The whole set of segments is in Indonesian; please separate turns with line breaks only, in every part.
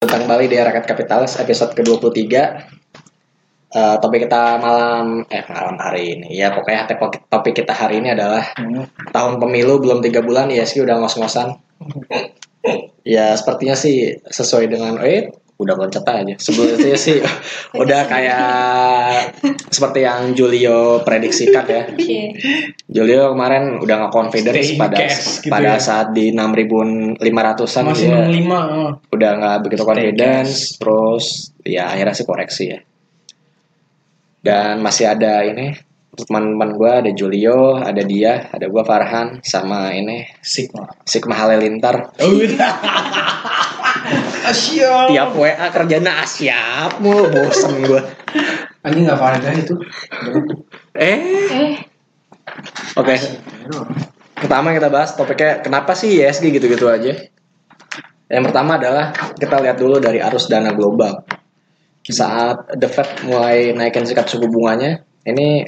kembali di Rakyat Kapitalis episode ke-23 Eh, Topik kita malam, eh malam hari ini Ya pokoknya topik- topik kita hari ini adalah Tahun pemilu belum 3 bulan, ISG udah ngos-ngosan Ya sepertinya sih sesuai dengan Eh udah loncat aja Sebelumnya sih udah kayak Seperti yang Julio prediksikan ya
Oke.
Julio kemarin udah nge-confidence
Stay in
pada
cash gitu
pada
ya.
saat di 6500-an
Masih
dia
lima ah.
udah nggak begitu
Stay
confidence terus ya akhirnya sih koreksi ya dan masih ada ini teman-teman gue ada Julio ada dia ada gue Farhan sama ini
Sigma.
Sigma Halilintar
Oh, iya. Asyik.
tiap WA kerjanya ah, siap mulu bosen gue
Anjing nggak parah dah itu.
eh
Eh,
oke pertama kita bahas topiknya kenapa sih ISG gitu-gitu aja yang pertama adalah kita lihat dulu dari arus dana global saat The Fed mulai naikin sikap suku bunganya ini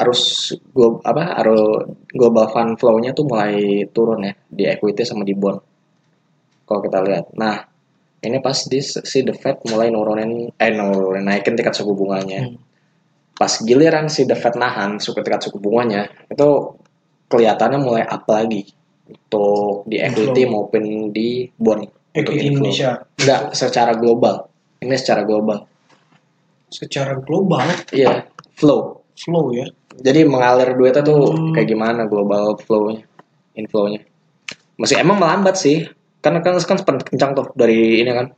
arus glo- apa arus global fund flow-nya tuh mulai turun ya di equity sama di bond kalau kita lihat nah ini pas di si The Fed mulai nurunin eh nurunin naikin tingkat suku bunganya
Hmm.
pas giliran si The Fed nahan suku tingkat suku bunganya itu kelihatannya mulai up lagi untuk di equity
Inflow.
maupun di bond Untuk inflow.
Equity Eh, Indonesia
Enggak, secara global. Ini secara global.
secara global
Iya, flow.
flow ya.
Jadi mengalir duitnya tuh
Hmm.
kayak gimana global flow-nya, inflow-nya. Masih emang melambat sih. Karena kan kan sempat kencang tuh dari ini kan.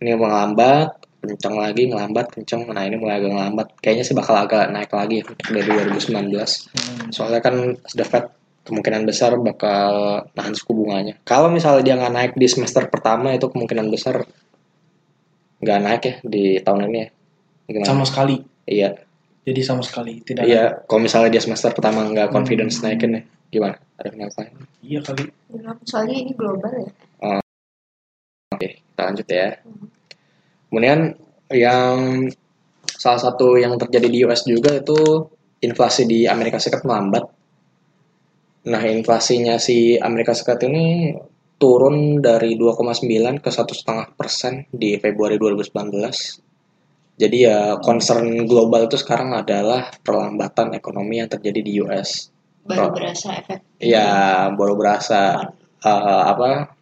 Ini melambat, kencang lagi, melambat, kencang. Nah, ini mulai agak melambat. Kayaknya sih bakal agak naik lagi ya, dari 2019. Soalnya kan The Fed kemungkinan besar bakal nahan suku bunganya. Kalau misalnya dia nggak naik di semester pertama itu kemungkinan besar nggak naik ya di tahun ini ya. Gimana?
Sama sekali.
Iya,
Jadi sama sekali tidak.
iya. Kalau misalnya dia semester pertama nggak
Hmm.
confidence naikin ya, gimana? Ada kenapa?
Iya kali.
belum. soalnya ini global ya.
Kita lanjut ya. Kemudian yang salah satu yang terjadi di US juga itu inflasi di Amerika Serikat melambat. Nah, inflasinya si Amerika Serikat ini turun dari 2,9 ke 1,5 persen di Februari 2019. Jadi ya concern global itu sekarang adalah perlambatan ekonomi yang terjadi di US.
Baru
Oh.
berasa efek.
Ya, baru berasa eh, apa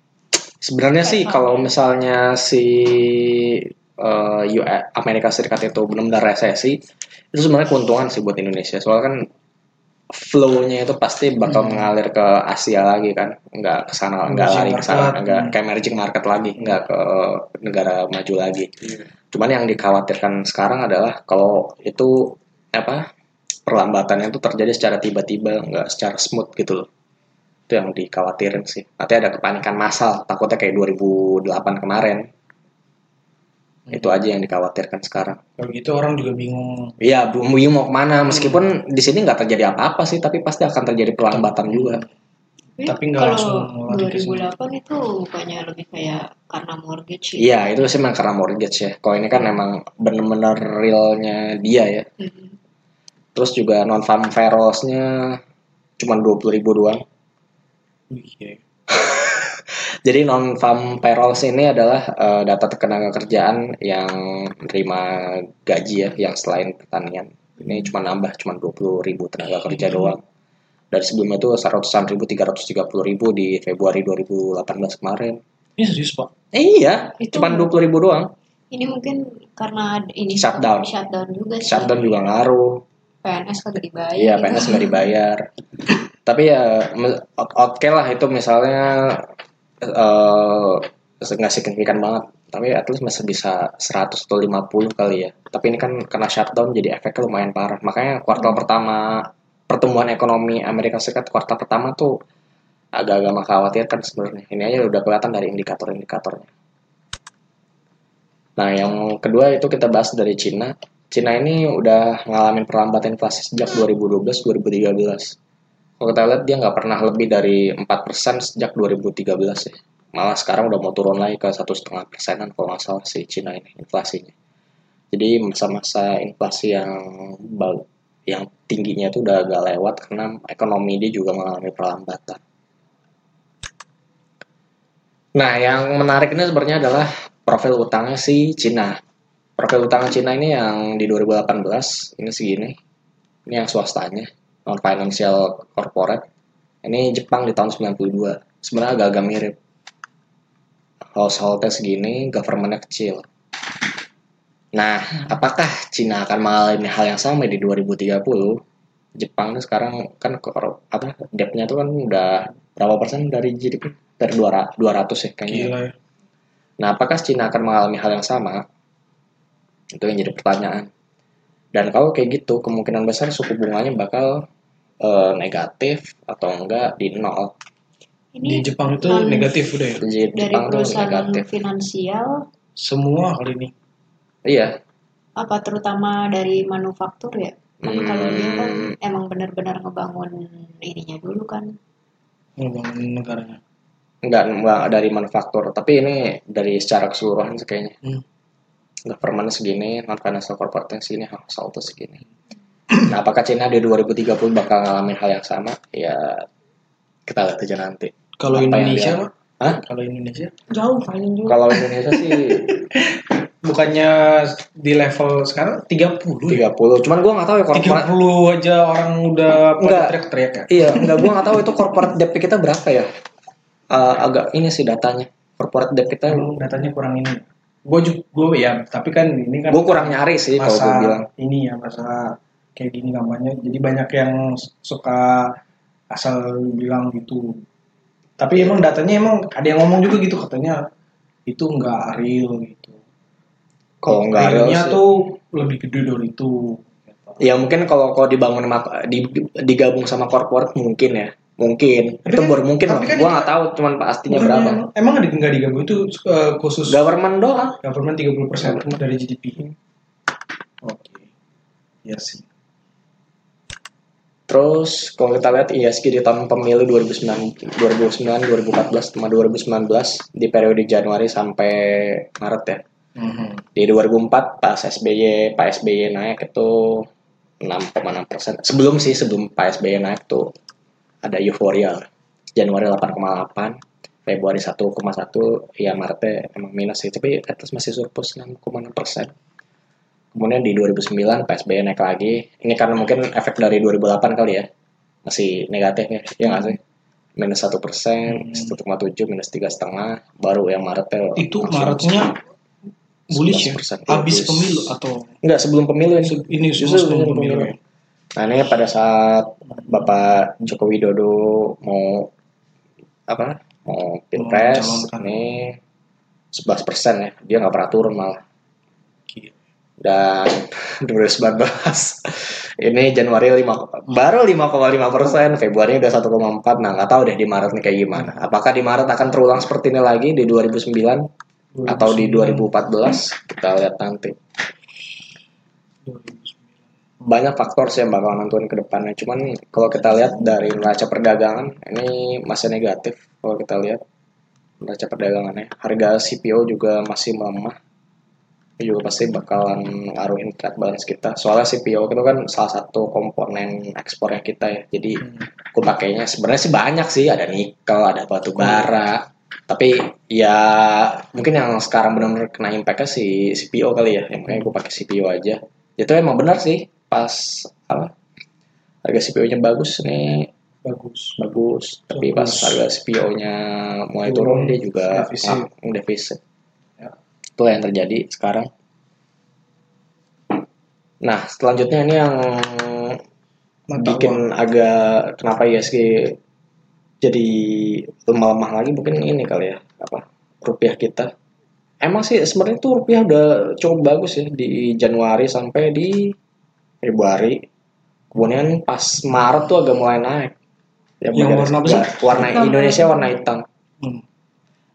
sebenarnya sih kalau misalnya si eh, US Amerika Serikat itu benar-benar resesi itu sebenarnya keuntungan sih buat Indonesia soalnya kan flow-nya itu pasti bakal
Hmm.
mengalir ke Asia lagi kan nggak ke sana nggak
Emerging
lari ke sana
market.
nggak
Hmm.
ke emerging market lagi nggak ke negara maju lagi
Iya.
cuman yang dikhawatirkan sekarang adalah kalau itu apa perlambatannya itu terjadi secara tiba-tiba nggak secara smooth gitu loh itu yang dikhawatirin sih nanti ada kepanikan massal takutnya kayak 2008 kemarin
Hmm.
itu aja yang dikhawatirkan sekarang
Kalau gitu orang juga bingung.
iya belum bingung mau
Hmm.
kemana meskipun di sini nggak terjadi apa-apa sih tapi pasti akan terjadi perlambatan juga
Tapi nggak langsung
Kalau
lari ke sini.
2008 itu bukannya lebih kayak karena mortgage ya.
iya itu sih memang karena mortgage ya kalau ini
Hmm.
kan emang bener-bener realnya dia ya
Hmm.
terus juga non farm nya cuma 20 ribu doang
Iya.
Jadi non farm payrolls ini adalah eh, data ketenaga kerjaan yang menerima gaji ya, yang selain pertanian. Ini cuma nambah cuma 20 ribu tenaga kerja doang. Dari sebelumnya itu 100-an ribu, 330 ribu di Februari 2018 kemarin.
Ini serius pak.
Eh, iya,
Itu-
cuma 20 ribu doang.
Ini mungkin karena ada- ini
Shutdown.
shutdown juga sih.
Shutdown juga ngaruh.
PNS kagak dibayar.
Iya,
gitu.
PNS nggak dibayar. Tapi ya me- o- oke lah itu misalnya eh nggak signifikan banget. Tapi at least masih bisa 100 atau 50 kali ya. Tapi ini kan karena shutdown jadi efeknya lumayan parah. Makanya kuartal pertama pertumbuhan ekonomi Amerika Serikat kuartal pertama tuh agak-agak mengkhawatirkan kan sebenarnya. Ini aja udah kelihatan dari indikator-indikatornya. Nah, yang kedua itu kita bahas dari Cina. Cina ini udah ngalamin perlambatan inflasi sejak 2012-2013. Kalau kita lihat dia nggak pernah lebih dari 4% sejak 2013 ya. Malah sekarang udah mau turun lagi ke satu setengah persenan kalau nggak salah si Cina ini inflasinya. Jadi masa-masa inflasi yang bal- yang tingginya itu udah agak lewat karena ekonomi dia juga mengalami perlambatan. Nah, yang menariknya sebenarnya adalah profil utangnya si Cina. Profil utang Cina ini yang di 2018 ini segini. Ini yang swastanya, non financial corporate. Ini Jepang di tahun 92. Sebenarnya agak-agak mirip. Householdnya segini, governmentnya kecil. Nah, apakah Cina akan mengalami hal yang sama di 2030? Jepang tuh sekarang kan kor- apa debtnya tuh kan udah berapa persen dari GDP? Dari 200 200 ya kayaknya.
Gila ya.
Nah, apakah Cina akan mengalami hal yang sama? Itu yang jadi pertanyaan. Dan kalau kayak gitu, kemungkinan besar suku bunganya bakal eh, negatif atau enggak di nol.
Di
Ini
Jepang itu
non-
negatif udah ya.
Jadi
dari
Jepang tuh
perusahaan
negatif.
finansial
Semua kali ini.
Iya.
apa terutama dari manufaktur ya? Kan kalau dia kan
Hmm,
emang benar-benar ngebangun ininya dulu kan.
Ngebangun negaranya.
enggak, enggak dari manufaktur, tapi ini dari secara keseluruhan sih kayaknya.
Hmm.
Government segini, non financial corporate segini, household tuh segini. Nah, apakah Cina di 2030 bakal ngalamin hal yang sama? Ya kita lihat aja nanti.
Kalau
Apa yang
Indonesia,
dia-
Pak?
Hah?
kalau Indonesia jauh paling jauh.
Kalau Indonesia sih
Bukannya di level sekarang 30 ya?
30. Cuman gua nggak tahu ya korporat.
30 aja orang udah
Enggak.
pada teriak-teriak ya.
Iya, enggak gua nggak tahu itu corporate debt kita berapa ya. Eh, agak ini sih datanya. Corporate debt kita
Emang datanya kurang ini. Gue juga gue ya, tapi kan ini kan
gua kurang nyari sih kalau
masa
gua bilang.
ini ya masa kayak gini kampanye. Jadi banyak yang suka asal bilang gitu.
Iya.
Tapi emang datanya emang ada yang ngomong juga gitu katanya itu enggak real gitu.
Kalau nggak real
realnya
sih.
tuh lebih gede dari itu. gitu.
Ya mungkin kalau kalau dibangun sama- di, digabung sama corporate mungkin ya. Mungkin.
Tapi
itu
kan-
baru mungkin lah.
tapi kan
gua
itu-
nggak tahu cuman pastinya
Bukannya
berapa.
Emang, emang ada nggak digabung itu eh, khusus
Government doang.
government 30 persen dari GDP. Oke,
Iya
ya sih.
Terus kalau kita lihat ISG di tahun pemilu 2009, 2009, 2014 sama 2019 di periode Januari sampai Maret ya.
Mhm.
di 2004 pas SBY Pak SBY naik itu 6,6 persen sebelum sih sebelum Pak SBY naik tuh ada euforia lah. Januari 8,8 Februari 1,1 ya Maretnya emang minus sih tapi atas masih surplus 6,6 persen kemudian di 2009 Pak SBY naik lagi ini karena mungkin efek dari 2008 kali ya masih negatif ya ya nggak sih minus satu persen,
Hmm.
1,7, minus tiga setengah, baru yang Maretnya
Itu
langsung
Maretnya bullish ya,
11% bullish.
habis pemilu atau
Enggak, sebelum pemilu ini.
se- ini
Justru
semua sebelum
sebelum
pemilu
Iya. pemilu.
ya.
Nah, ini pada saat Bapak Joko Widodo mau apa? Mau pilpres
mencalonkan.
ini 11 persen ya. Dia nggak pernah turun malah.
Gila.
Dan 2019 ini Januari 5 baru 5,5 persen, Februari udah 1,4. Nah, nggak tahu deh di Maret nih kayak gimana. Apakah di Maret akan terulang seperti ini lagi di 2009 atau di 2014? Kita lihat nanti.
2009.
banyak faktor sih yang bakal nentuin ke depannya. Cuman kalau kita lihat dari neraca perdagangan ini masih negatif kalau kita lihat neraca perdagangannya. Harga CPO juga masih melemah. Ini juga pasti bakalan ngaruhin trade balance kita. Soalnya CPO itu kan salah satu komponen ekspornya kita ya. Jadi gue pakainya sebenarnya sih banyak sih ada nikel ada batu bara tapi ya mungkin yang sekarang benar-benar kena impactnya si CPO kali ya yang makanya gue pakai CPO aja itu emang benar sih pas apa harga CPO-nya bagus nih
Bagus.
bagus tapi pas
Bagus.
harga CPO-nya mulai
Turun,
turun dia juga
defisit.
ngak- defisit
Ya.
itu yang terjadi sekarang nah selanjutnya ini yang
Mata
bikin
uang.
agak kenapa ISG jadi melemah lagi mungkin ini kali ya apa rupiah kita emang sih sebenarnya tuh rupiah udah cukup bagus ya di Januari sampai di Februari kemudian pas Maret tuh agak mulai naik Ya,
Yang warna apa sih?
warna Indonesia warna hitam
Hmm.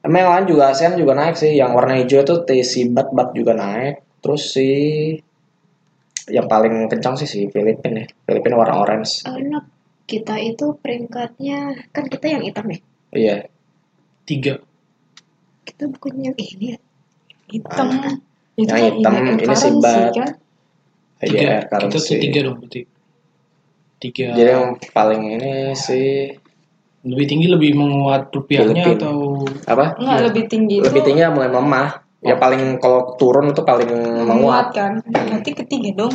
Emang yang lain juga ASEAN juga naik sih. Yang warna hijau itu TC Bat Bat juga naik. Terus si yang paling kencang sih si Filipina ya. Filipina warna orange.
Enak. Kita itu peringkatnya kan kita yang hitam ya.
Iya.
Tiga.
Kita bukannya yang ini ya. Hitam.
Ah,
Itu
Yang
kan
hitam,
Indian
ini si
currency,
bat.
kan?
IDR
Tiga. Kita tuh
currency.
tiga dong berarti. Tiga.
Iya, Jadi yang paling ini si
Lebih tinggi lebih menguat rupiahnya
Filipin.
atau
apa? Hmm.
Enggak, lebih tinggi itu
Lebih tinggi yang mulai melemah. Ya paling kalau turun itu paling menguat.
Menguat kan.
Hmm.
Berarti ketiga dong.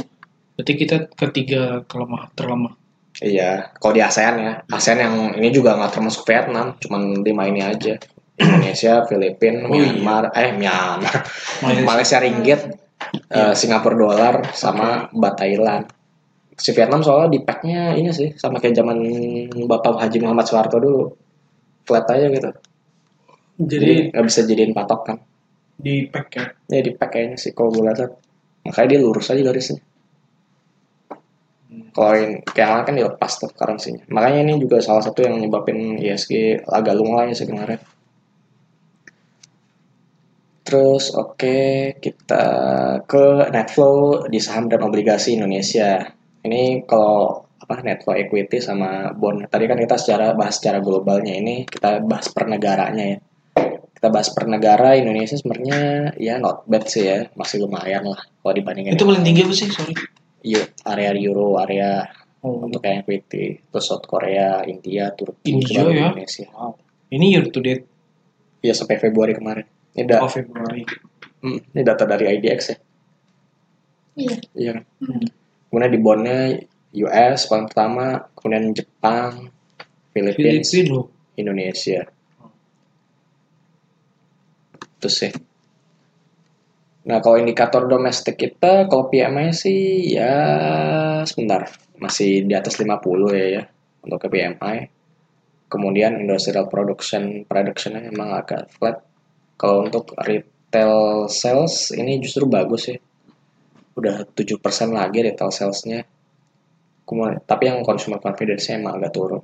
Berarti kita ketiga kelemah terlemah.
Iya, kalau di ASEAN ya. ASEAN yang ini juga nggak termasuk Vietnam, cuman lima ini aja. Indonesia, Filipina,
Oh, iya.
Myanmar, eh Myanmar,
Iya.
Malaysia.
Malaysia ringgit, eh, Singapura dolar, sama Baht Thailand. Si Vietnam soalnya di pack-nya ini sih, sama kayak zaman Bapak Haji Muhammad Soeharto dulu. Flat aja gitu.
Jadi
Jadi nggak bisa jadiin patokan.
di pack ya.
Ya di pack kayaknya sih kalau gue lihat. Makanya dia lurus aja garisnya. Kalau yang kayak yang lain kan dilepas tuh currency-nya. Makanya ini juga salah satu yang nyebabin ISG agak ya lunglai sih kemarin. Terus oke kita ke net flow di saham dan obligasi Indonesia. Ini kalau apa net flow equity sama bond. Tadi kan kita secara bahas secara globalnya ini kita bahas per negaranya ya. Kita bahas per negara Indonesia sebenarnya ya not bad sih ya, masih lumayan lah kalau dibandingin
Itu paling tinggi apa sih? Sorry.
Eu- area euro, area
Oh,
untuk yang equity, terus South Korea, India, Turki,
India
baru
ya?
Indonesia.
ini year to date
Iya sampai Februari kemarin. Ini,
oh,
da-
Februari. Oh.
hmm, ini data dari IDX ya.
Iya.
Iya kan?
Hmm.
Kemudian di bondnya US paling pertama, kemudian Jepang, Philippines,
Filipina loh.
Indonesia. Itu sih. Nah, kalau indikator domestik kita, kalau PMI sih ya sebentar. Masih di atas 50 ya ya untuk ke PMI. Kemudian industrial production productionnya memang agak flat. Kalau untuk retail sales ini justru bagus ya. Udah 7% lagi retail salesnya. Kemudian, tapi yang consumer confidence-nya emang agak turun.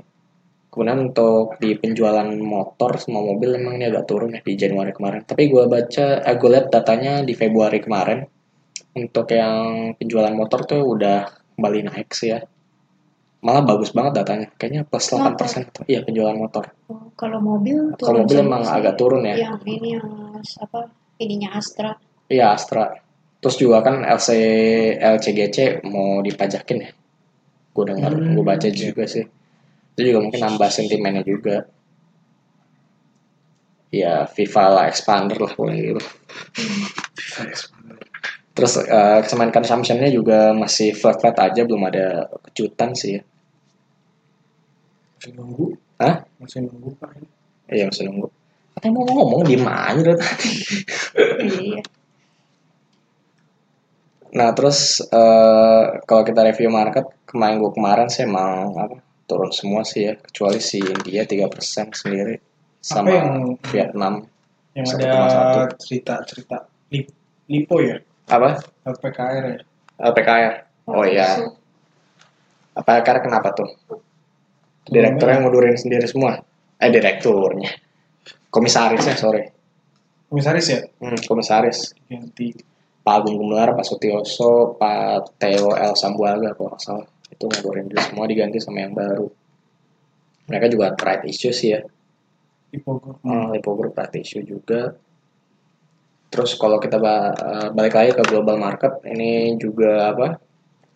Kemudian untuk di penjualan motor semua mobil emang ini agak turun ya di Januari kemarin. Tapi gue baca, eh, gue lihat datanya di Februari kemarin untuk yang penjualan motor tuh udah kembali naik sih ya. Malah bagus banget datanya, kayaknya plus 8% Iya penjualan motor.
Oh, Kalau mobil turun.
Kalau mobil
sama
emang
sih.
agak turun ya.
Yang ini yang apa? Ininya Astra.
Iya Astra. Terus juga kan LC LCGC mau dipajakin ya. Gue dengar,
Hmm.
gue baca juga sih. Itu juga mungkin nambah sentimennya juga. Ya Viva lah, expander lah pokoknya gitu. Terus eh kesamaan consumption-nya juga masih flat-flat aja, belum ada kejutan sih ya.
Masih nunggu.
Hah?
Masih nunggu Pak.
Iya masih nunggu. Katanya mau ngomong di aja udah. Hmm.
Iya.
Nah terus eh, kalau kita review market kemarin gua kemarin sih emang apa, turun semua sih ya kecuali si India 3% sendiri sama Ya,
Apa yang
Vietnam
yang
1,1.
ada cerita-cerita Lip- Lipo ya,
apa
LPKR ya.
Eh, PKR oh iya
Masuk.
apa PKR kenapa tuh direkturnya ngundurin sendiri semua eh direkturnya komisarisnya sorry
Komisaris ya,
hmm, komisaris
ganti.
Pak Agung Gumelar Pak Sutioso Pak Theo L Sambuaga kalau nggak salah itu ngundurin dulu semua diganti sama yang baru mereka juga trade issue sih ya
Lipo Group.
Hmm, Lipo Group berarti issue juga. Terus kalau kita ba- eh, balik lagi ke global market, ini juga apa?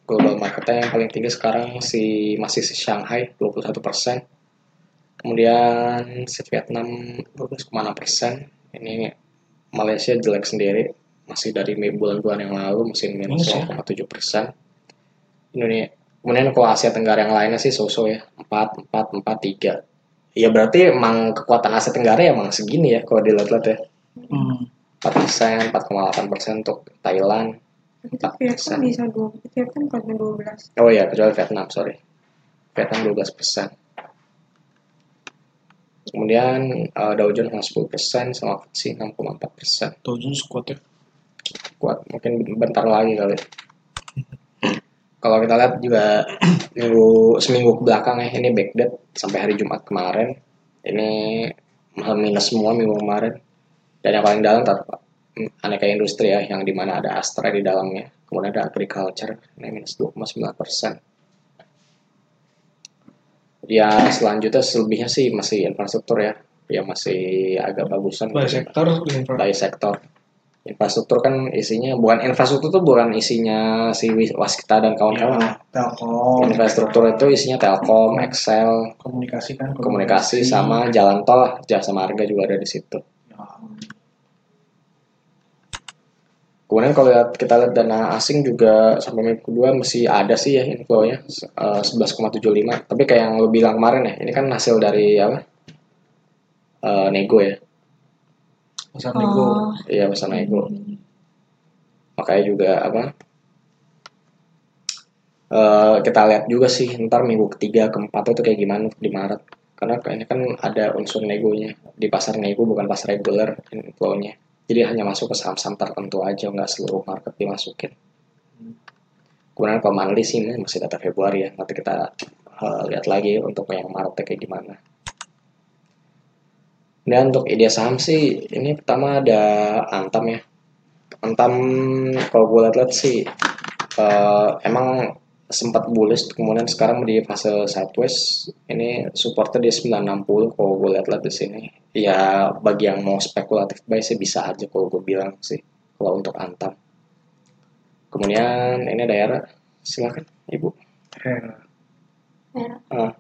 Global marketnya yang paling tinggi sekarang si masih si Shanghai 21%. Kemudian si Vietnam 12,6%. Ini Malaysia jelek sendiri, masih dari bulan-bulan yang lalu masih
Minus
minus
ya?
0,7%. Indonesia Kemudian kalau Asia Tenggara yang lainnya sih so-so ya. 4, 4, 4, 3. Ya berarti emang kekuatan aset negara ya emang segini ya kalau dilihat-lihat ya.
Hmm.
4 persen, 4,8 persen untuk Thailand.
Itu
kan
Vietnam bisa dua, Vietnam karena 12.
Oh iya, kecuali Vietnam, sorry. Vietnam 12 persen. Kemudian eh, Dow Jones sama 10 persen, sama FTSE 6,4 persen.
Tojun squad ya.
Kuat, mungkin bentar lagi kali. Kalau kita lihat juga minggu seminggu belakang ya, ini backdate sampai hari Jumat kemarin. Ini minus semua minggu kemarin. dan yang paling dalam tetap hmm, aneka industri ya yang dimana ada Astra di dalamnya kemudian ada agriculture ini minus 2,9 persen ya selanjutnya selebihnya sih masih infrastruktur ya yang masih agak bagusan
By sektor infra.
by sektor infrastruktur kan isinya bukan infrastruktur tuh bukan isinya si Wis- waskita dan kawan-kawan
Ya, Telkom,
infrastruktur itu isinya telkom, excel,
komunikasi kan
komunikasi
Ya
sama jalan tol lah. jasa marga juga ada di situ
Ya,
Kemudian kalau lihat, kita lihat dana asing juga sampai minggu kedua masih ada sih ya inflow-nya se- eh, 11,75. Tapi kayak yang lo bilang kemarin ya, ini kan hasil dari apa? Eh, nego ya.
Pasar nego.
Oh,
Iya, masa nego. Makanya juga apa? eh, kita lihat juga sih ntar minggu ketiga keempat itu kayak gimana di Maret. Karena ini kan ada unsur negonya di pasar nego bukan pasar reguler inflow-nya. Jadi hanya masuk ke saham-saham tertentu aja, nggak seluruh market dimasukin. Kemudian kalau monthly sih ini masih data Februari ya. Nanti kita eh, lihat lagi untuk yang Maretnya kayak gimana. Dan untuk ide saham sih, ini pertama ada Antam ya. Antam kalau gue lihat sih eh, emang sempat bullish kemudian sekarang di fase sideways ini supportnya di 960 kalau gue lihat-lihat di sini ya bagi yang mau spekulatif buy sih bisa aja kalau gue bilang sih kalau untuk antam kemudian ini daerah silakan ibu
Hera.
Hera.
Ah.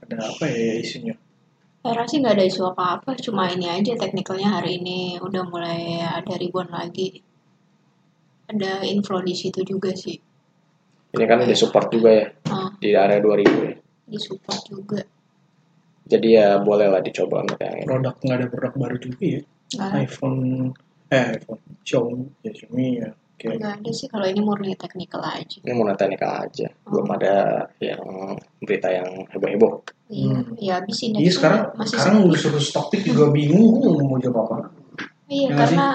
Ada apa ya isunya?
Hera sih nggak ada isu apa-apa, cuma ini aja teknikalnya hari ini udah mulai ada ribuan lagi. Ada inflow di situ juga sih,
ini kan di support juga ya
Ah.
di area 2000 ya
di support juga.
jadi ya boleh lah dicoba untuk yang ini
Produk nggak ada produk baru juga ya?
Nggak
iPhone, eh iPhone, Xiaomi, ya Xiaomi ya. Oke.
nggak
Iya.
ada sih kalau ini murni teknikal aja.
ini mau teknikal aja belum ada yang berita yang heboh-heboh
Iya,
Hmm.
ya habis ini
Iya sekarang
masih
sekarang udah suruh stock pick juga bingung gue mau jawab apa.
Iya,
Ya nggak
karena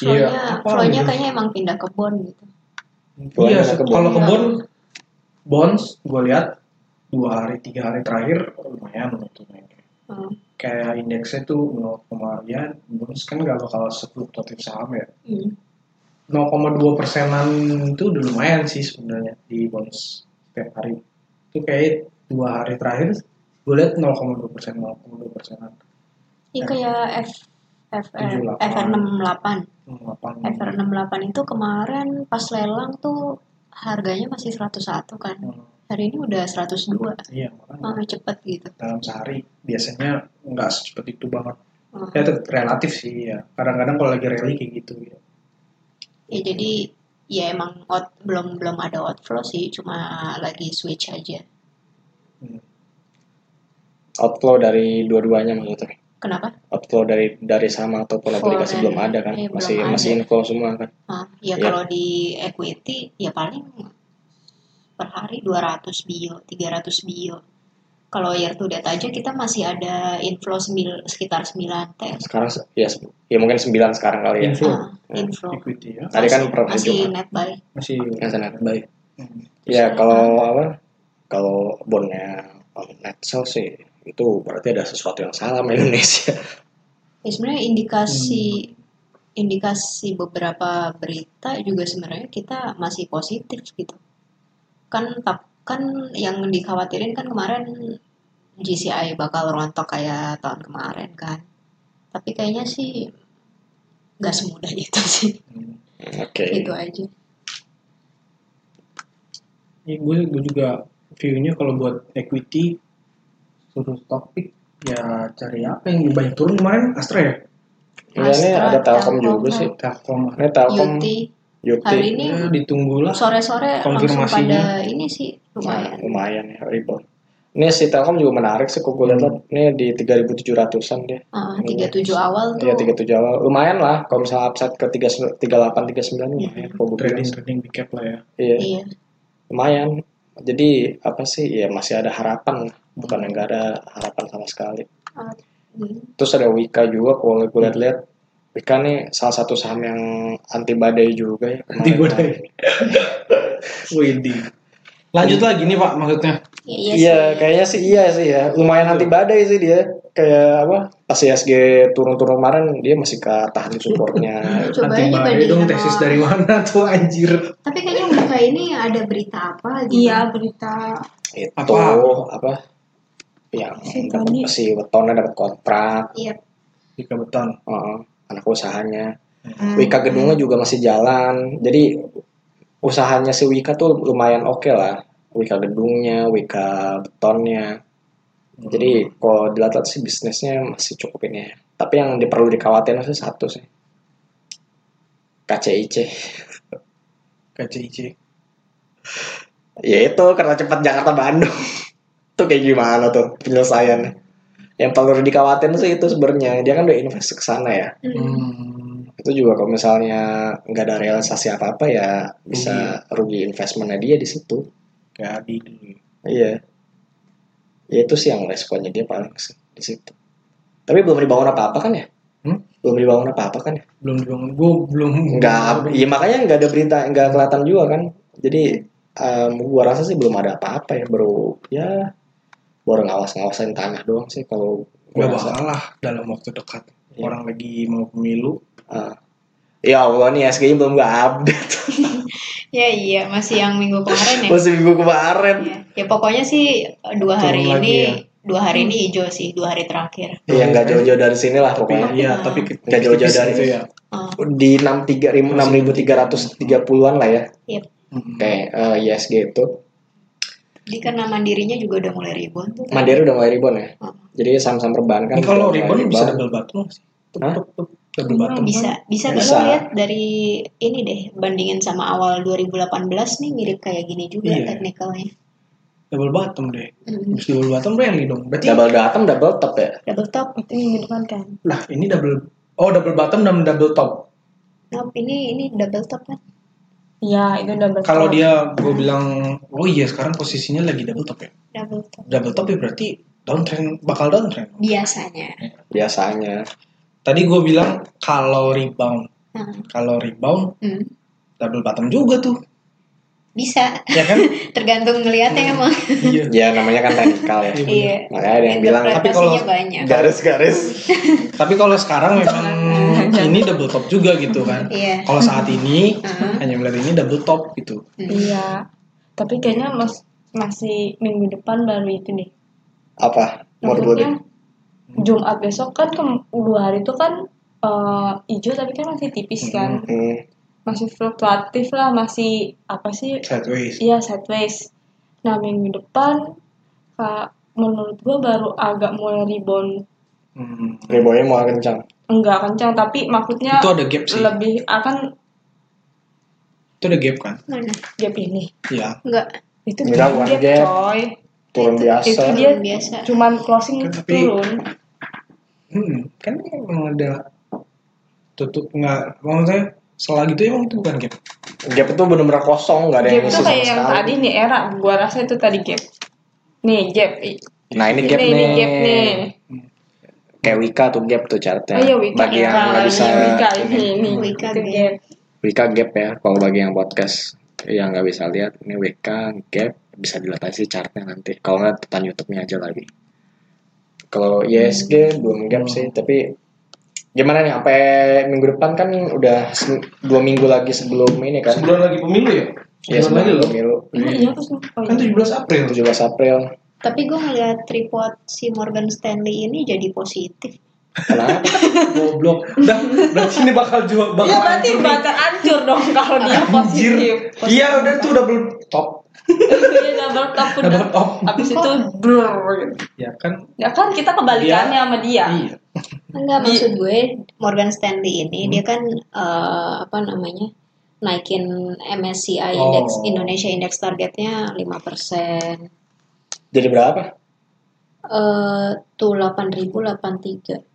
Iya,
flow-nya,
apa
flow-nya
gitu?
kayaknya emang pindah ke bond gitu.
Boleh
Iya
ada kebun.
kalau kebun bonds gue lihat dua hari tiga hari terakhir lumayan itu naiknya.
Hmm.
Kayak indeksnya tuh 0, ya bonds kan gak bakal sefluktuatif saham ya.
Hmm.
0,2 persenan itu udah lumayan sih sebenarnya di bonus setiap hari. Itu kayak dua hari terakhir gue lihat 0,2 persen, 0,2 persenan.
Iya
F-
kayak F FR
78.
FR68.
Hmm, Apa nih?
FR68 itu kemarin pas lelang tuh harganya masih 101 kan.
Hmm,
Hari ini udah 102.
Iya, makanya
Ah, cepet gitu.
dalam sehari biasanya nggak secepat itu banget.
Ah.
Ya tetap relatif sih ya. Kadang-kadang kalau lagi rally kayak gitu ya.
Ya jadi ya emang out, belum belum ada outflow sih, cuma lagi switch aja.
outflow dari dua-duanya maksudnya
Kenapa?
outflow dari dari sama ataupun
Foreign.
obligasi belum ada kan
Iya, belum
masih
ada.
masih inflow semua kan
Ah,
Iya.
ya kalau di equity ya paling per hari 200 bio, 300 bio. Kalau year to date aja kita masih ada inflow sembil- sekitar 9 T.
sekarang se- ya se- ya mungkin 9 sekarang kali ya
Inflow,
Ah, inflow.
equity ya.
tadi kan
Masih-
per hari
masih
Jumat.
net buy.
Masih iya.
ya sangat baik
Hmm.
ya
Terus
kalau
kan-
apa kalau bonnya um, net sales sih itu berarti ada sesuatu yang salah sama Indonesia
Ya, sebenarnya indikasi
Hmm.
indikasi beberapa berita juga sebenarnya kita masih positif gitu. Kan tap- kan yang dikhawatirin kan kemarin GCI bakal rontok kayak tahun kemarin kan. Tapi kayaknya sih nggak semudah itu sih.
Hmm.
oke
Gitu aja.
Ya, gue, gue juga view-nya kalau buat equity suruh topik ya cari apa yang banyak turun kemarin Astra ya
Ya, ini
Astra,
ada Telkom
Telkom,
juga sih
Telkom
ini Telkom
Yuti hari
Yuti
ini
ya, ditunggulah
sore-sore langsung
Konfirmasinya.
pada ini sih
lumayan
lumayan.
Nah, lumayan ya rebound ini si Telkom juga menarik sih kok gue lihat ini di 3.700an dia
Ah, 37 awal tuh
Iya tiga tujuh awal lumayan lah kalau misalnya upside ke tiga tiga delapan tiga sembilan lumayan kalau gue bilang
trading trading big cap lah ya
iya
iya.
lumayan jadi apa sih ya masih ada harapan lah. bukan yang nggak ada harapan sama sekali
Ah, hmm.
terus ada Wika juga kalau gue lihat-lihat Wika nih salah satu saham yang anti badai juga ya kemarin.
nanti gue deh Widi lanjut lagi nih pak maksudnya
Ya, iya
Iya,
sih.
kayaknya sih iya sih ya. Lumayan anti badai sih dia. Kayak apa? Pas ISG turun-turun kemarin dia masih ke tahan supportnya.
Coba aja
nanti badai
bandingin
dong
sama-
tesis dari mana tuh anjir
Tapi kayaknya Wika ini ada berita apa gitu.
Iya berita
Itu apa?
Apa?
Yang
Si
dapat
Tony.
si wetonnya dapat kontrak.
Iya.
Jika beton
Heeh, anak usahanya.
Hmm.
Wika gedungnya juga masih jalan. Jadi usahanya si Wika tuh lumayan oke lah. Wika gedungnya, Wika betonnya. Jadi
Hmm.
kalau dilihat sih bisnisnya masih cukup ini ya. Tapi yang perlu dikhawatirin sih satu sih. KCIC.
KCIC.
Ya itu kereta cepat Jakarta Bandung. tuh kayak gimana tuh penyelesaiannya? Yang perlu dikhawatirin sih itu sebenarnya dia kan udah invest ke sana ya.
Iya.
Hmm.
Itu juga kalau misalnya nggak ada realisasi apa-apa ya bisa rugi investmentnya dia di situ.
Kayak Adi dulu.
Iya. Ya itu sih yang responnya dia paling sih di situ. Tapi belum dibangun apa-apa kan ya?
Hmm?
Belum dibangun apa-apa kan ya?
Belum dong. Gue belum.
Nggak, ya makanya nggak ada berita, nggak kelihatan juga kan. Jadi em, gua rasa sih belum ada apa-apa ya, baru ya baru ngawas-ngawasin tanah doang sih kalau
Gak
gua rasa.
bakal lah dalam waktu dekat.
Iya.
Orang lagi mau pemilu.
Ah. ya Allah nih SG-nya belum gak update.
Ya iya, masih yang minggu kemarin ya.
Masih minggu kemarin.
Iya. Ya pokoknya sih eh, dua
Turun
hari
lagi
ini
ya.
dua hari ini hijau sih, dua hari terakhir.
Iya, nggak jauh-jauh dari sini lah pokoknya.
Iya, tapi ke-
Nggak jauh-jauh
tipis
dari-
gitu ya.
Oh,
Di 63.330-an lah ya.
Hmm.
Kayak eh, ISG itu.
jadi karena mandirinya juga udah mulai ribon tuh. kan.
Mandiri udah mulai rebound ya.
Hmm.
Jadi saham-saham perbankan.
Ini kalau
udah mulai
ribbon bisa
rebound.
double bottom nggak sih? Tup,
Hah?
tup, tup. Double bottom.
Bisa, bisa,
Bisa.
kalau lihat dari ini deh, bandingin sama awal 2018 nih mirip kayak gini juga
Iya.
teknikalnya.
Double bottom deh.
Mm.
Terus double bottom rally dong. Berarti
Double datam, double top ya.
Double top.
Itu minggu depan kan?
lah ini double Oh double bottom dan double top.
Nope, ini ini double top kan.
Iya, itu double
Kalau
top.
dia gue bilang oh iya sekarang posisinya lagi double top ya.
Double top.
Double top ya berarti downtrend bakal downtrend.
Biasanya.
Biasanya.
Tadi gue bilang kalau rebound,
Hmm.
kalau rebound
Hmm.
double bottom juga tuh,
Bisa,
ya kan?
tergantung ngeliatnya emang.
iya.
Ya namanya kan teknikal ya.
Iya.
Makanya ada yang bilang
Tapi
Interpretasinya
kalau-
ya.
banyak.
garis-garis.
Tapi kalau sekarang memang ini double top juga gitu kan.
Iya.
Kalau saat ini
Uh-huh.
Hmm.
hanya melihat ini double top gitu.
Iya. Tapi kayaknya mas- masih minggu depan baru itu deh.
Apa? Menurut lu deh.
Maksudnya Jumat besok kan kem- dua hari itu kan eh, hijau tapi kan masih tipis kan.
Hmm.
Masih fluktuatif lah, masih apa sih?
Sideways.
Iya, sideways. Nah, minggu depan Kak, menurut gua baru agak mulai rebound
Hmm.
Reboundnya mau kencang.
enggak kencang tapi maksudnya
Itu ada gap sih.
lebih akan
Itu ada gap kan?
Mana?
gap ini
Iya.
Enggak.
itu
Enggak,
bukan
bukan
gap,
gap.
coy
Turun
itu
biasa.
dia
biasa.
cuman closing
Kan tapi-
turun
Hmm, kan emang ada tutup nggak maksudnya selagi itu emang itu bukan gap.
Gap itu benar-benar kosong, nggak ada
gap
yang
itu
ngisi sama
kayak yang tadi
sekali.
nih era gua rasa itu tadi gap nih gap I-
Nah ini
ini
gap
ini
nih.
gap nih
Kayak Wika tuh gap tuh chartnya.
oh iya wika
Bagi yang
Nah,
nggak bisa.
ini wika ini
ini.
ini
Wika
itu
gap.
gap
Wika gap ya kalau bagi yang podcast yang nggak bisa lihat ini Wika gap bisa dilihat aja sih chartnya nanti kalau nggak tekan YouTube-nya aja lagi kalau ISG belum gap sih tapi gimana nih sampai minggu depan kan udah se- dua minggu lagi sebelum ini kan
Sebulan lagi pemilu ya?
ya sebelum
Sebulan lagi loh.
pemilu
Emang iya aku sumpah.
Kan 17 April.
17 April
Tapi gue ngeliat report si Morgan Stanley ini jadi positif.
kenapa
Goblok. Dah, berarti ini bakal jual bakal.
Iya berarti baca hancur dong kalau dia positif.
Iya, udah tuh double top.
Dia double top udah.
Double top.
Abis itu blur. gitu.
Ya kan?
Ya kan kita kebalikannya sama dia.
Iya.
Enggak maksud gue Morgan Stanley ini dia kan eh, apa namanya naikin MSCI
Oh.
Index Indonesia Index targetnya 5% persen Eh,
jadi berapa
tuh 8.083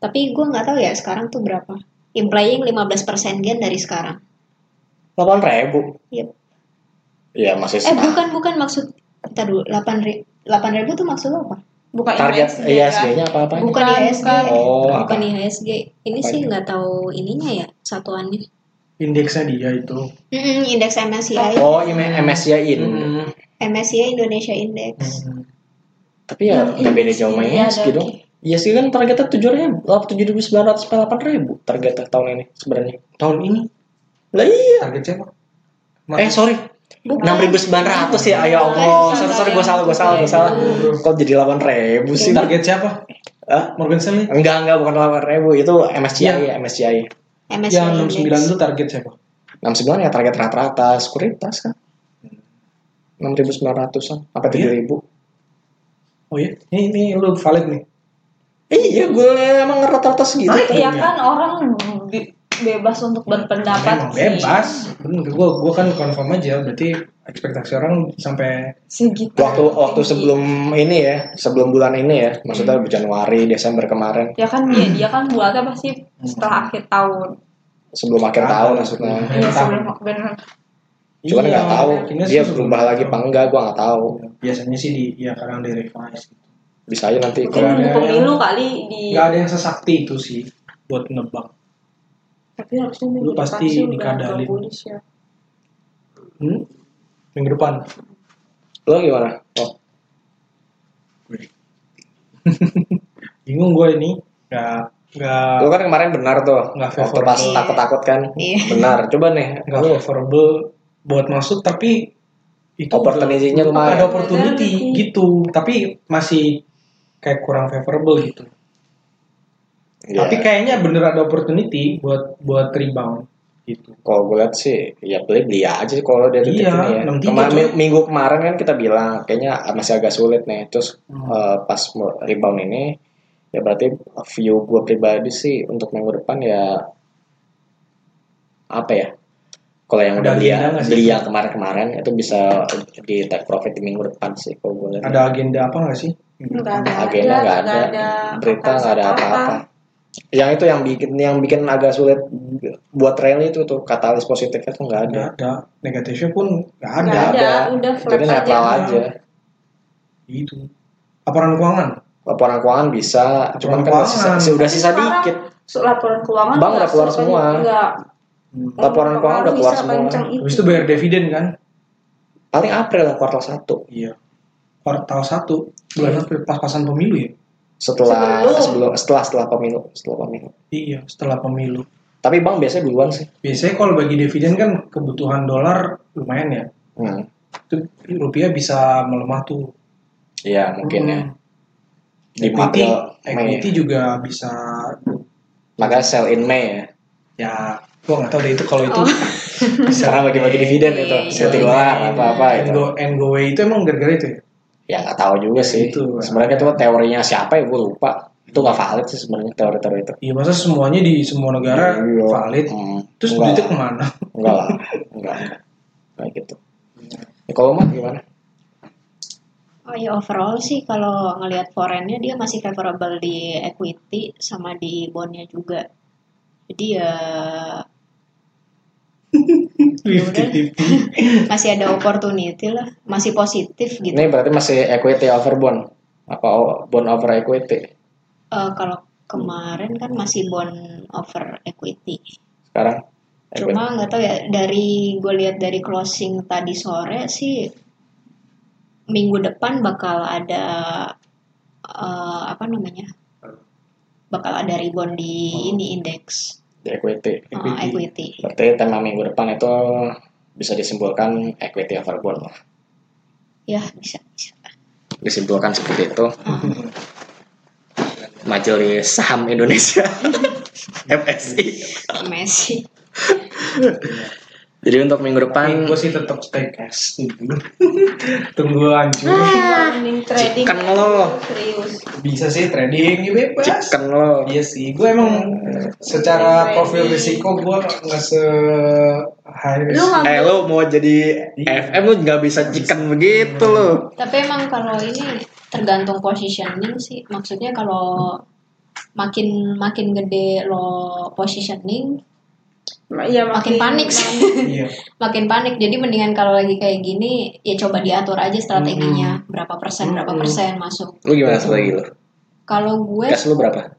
tapi gue nggak tahu ya sekarang tuh berapa implying 15% gain dari sekarang
8 ribu
Yep.
ya masih
eh
setahun.
bukan bukan maksud Bentar dulu 8 ri- 8.000 tuh maksud lo apa
Bukan kan.
target iya
IHSG,
ISG-nya apa apa
bukan
Bukan,
IHSG
ya. bukan.
Oh,
bukan
apa?
IHSG ini
Apa
sih
itu?
nggak tahu ininya ya satuannya
Indeksnya dia itu.
Mm-mm, indeks MSCI
oh MSCI
Iya.
in
Hmm.
Hmm.
MSCI Indonesia
Hmm.
Index.
Tapi ya nggak beda jauh sama
Iya,
ISG
ada
dong. ISG kan targetnya tujuh ribu, tujuh ribu sembilan ratus delapan ribu targetnya tahun ini sebenarnya.
Tahun ini
Lah iya.
target siapa?
Eh sorry, enam ribu sembilan ratus ya, ayo Allah. Sorry sorry, gue salah, gue salah, gue salah. Kok jadi delapan ribu sih?
target siapa?
Hah?
Morgan Stanley.
Enggak enggak bukan delapan ribu, itu MSCI ya MSCI.
MSCI
Yang
Index.
69 itu target siapa?
Enam sembilan ya target rata-rata sekuritas kan. Enam ribu sembilan ratusan, apa
Iya.
tujuh ribu?
Oh iya, ini, ini lu valid nih.
Ah, ya kan?
Iya, gue emang rata-rata segitu.
Iya kan orang di- bebas untuk berpendapat
Nah, Emang
sih.
bebas. Bener, gue gue kan konform aja. Berarti ekspektasi orang sampai
Segitu.
Waktu waktu
tinggi.
sebelum ini ya, sebelum bulan ini ya, maksudnya Januari, Desember kemarin,
Ya kan dia, dia kan buatnya pasti
Hmm.
setelah akhir tahun.
sebelum akhir
Ah.
tahun maksudnya.
Iya
Tahun.
sebelum benar.
Cuman
Iya,
nggak tahu
akhirnya
dia
sih
berubah lagi apa enggak, gua nggak tahu.
Biasanya sih di ya kadang di revise.
Bisa aja nanti
Mungkin
kalau
Iya.
nunggu
ada-
pemilu kali di
Gak ada yang sesakti itu sih buat nebak.
tapi harusnya minggu
Lu
depan
pasti
sih udah
dikadalin.
agak bullish ya.
Hmm? Minggu depan. Iya.
lo gimana? Oh,
Bingung gue ini. Gak gak
lo kan kemarin benar tuh.
Nggak
Waktu
favorable.
pas takut-takut kan.
Iya.
Benar. Coba nih,
nggak favorable buat masuk tapi itu
Opportunity-nya
udah-
lumayan.
ada opportunity
Opportunity.
gitu tapi masih kayak kurang favorable gitu
Iya.
tapi kayaknya bener ada opportunity buat buat rebound gitu
Kalau gue lihat sih, ya beli beli aja sih kalau dari detik
Iya,
ini ya.
63
Kemar-
tuh.
mi- minggu kemarin kan kita bilang kayaknya masih agak sulit nih. Terus
Hmm.
eh, pas mau rebound ini, ya berarti view gue pribadi sih untuk minggu depan ya apa ya? Kalau yang udah
Ada
beli
agenda nggak sih?
beli yang kemarin-kemarin itu bisa di take profit di minggu depan sih kalau gue lihat.
ada agenda apa nggak sih
Enggak ada.
Agenda nggak ada,
nggak ada
berita
atas
nggak ada
apa-apa.
apa-apa. Yang itu yang bikin yang bikin agak sulit buat rally itu tuh katalis positifnya tuh nggak ada.
nggak ada negatifnya pun nggak ada,
Nggak ada. udah flat
Jadi netral
aja.
aja.
gitu laporan keuangan
Laporan keuangan bisa, cuman kan
keuangan.
masih sisa, sih, udah
Tapi
sisa
sekarang
dikit.
su- laporan keuangan
Bang, udah keluar semua.
Enggak,
Hmm.
Laporan keuangan udah keluar semua.
habis itu bayar dividen kan
Paling April lah kuartal 1
iya kuartal satu bulan April pas-pasan pemilu ya
setelah
Sebelum.
sebelum setelah setelah pemilu, setelah pemilu.
iya setelah pemilu
Tapi Bang biasanya duluan sih.
biasanya kalau bagi dividen kan kebutuhan dolar lumayan ya
Hmm.
itu rupiah bisa melemah tuh
Iya, mungkin ya. Di
equity
April, Mei.
equity juga bisa
Makanya sell in May ya.
ya gua nggak tahu deh itu kalau
Oh.
itu
Karena bagi-bagi dividen
Iya,
itu,
iya,
setting
iya.
dolar apa-apa
and
itu.
go and go away itu emang gara-gara itu ya
Ya nggak tahu juga sih.
Iya, Itu.
Sebenarnya itu teorinya siapa ya gue lupa. Itu nggak valid sih sebenarnya teori-teori itu.
Iya masa semuanya di semua negara
Iya.
valid
Hmm,
terus
enggak
duitnya
lah.
kemana
enggak lah enggak enggak. kayak gitu ya, kalau mat gimana
Oh ya overall sih kalau ngelihat forennya dia masih favorable di equity sama di bondnya juga. Jadi ya
fifty fifty
masih ada opportunity lah, masih positif gitu.
ini berarti masih equity over bond apa o- bond over equity
Eh, kalau kemarin kan masih bond over equity.
sekarang Eh, equity.
Cuma nggak tahu ya dari gue lihat dari closing tadi sore sih minggu depan bakal ada eh, apa namanya? Bakal ada rebound di ini indeks
Di equity
eh,
Equity.
equity.
berarti tema minggu depan itu bisa disimpulkan equity over bond lah
Ya bisa bisa.
disimpulkan seperti itu Majelis Saham Indonesia MSI
Messi.
jadi untuk minggu depan
gue sih tetap stay cash dulu tunggu hancur
Warning trading.
Chicken
kan
lo.
Serius.
bisa sih trading ya bebas
chicken lo
Iya
Gitu.
sih, gue emang secara
Iya,
Trading.
profil risiko gue nggak se high
Lu
risk.
Eh
ngambil
lu mau jadi
Iya.
FM lu nggak bisa chicken begitu lu.
Tapi emang kalau ini tergantung positioning sih. Maksudnya kalau makin makin gede lo positioning,
ya
makin panik sih.
Iya.
makin panik. Jadi mendingan kalau lagi kayak gini ya coba diatur aja strateginya
Hmm.
berapa persen berapa
Mm-mm.
persen masuk.
Lu gimana strategi lu?
Kalau gue
Cash lu berapa?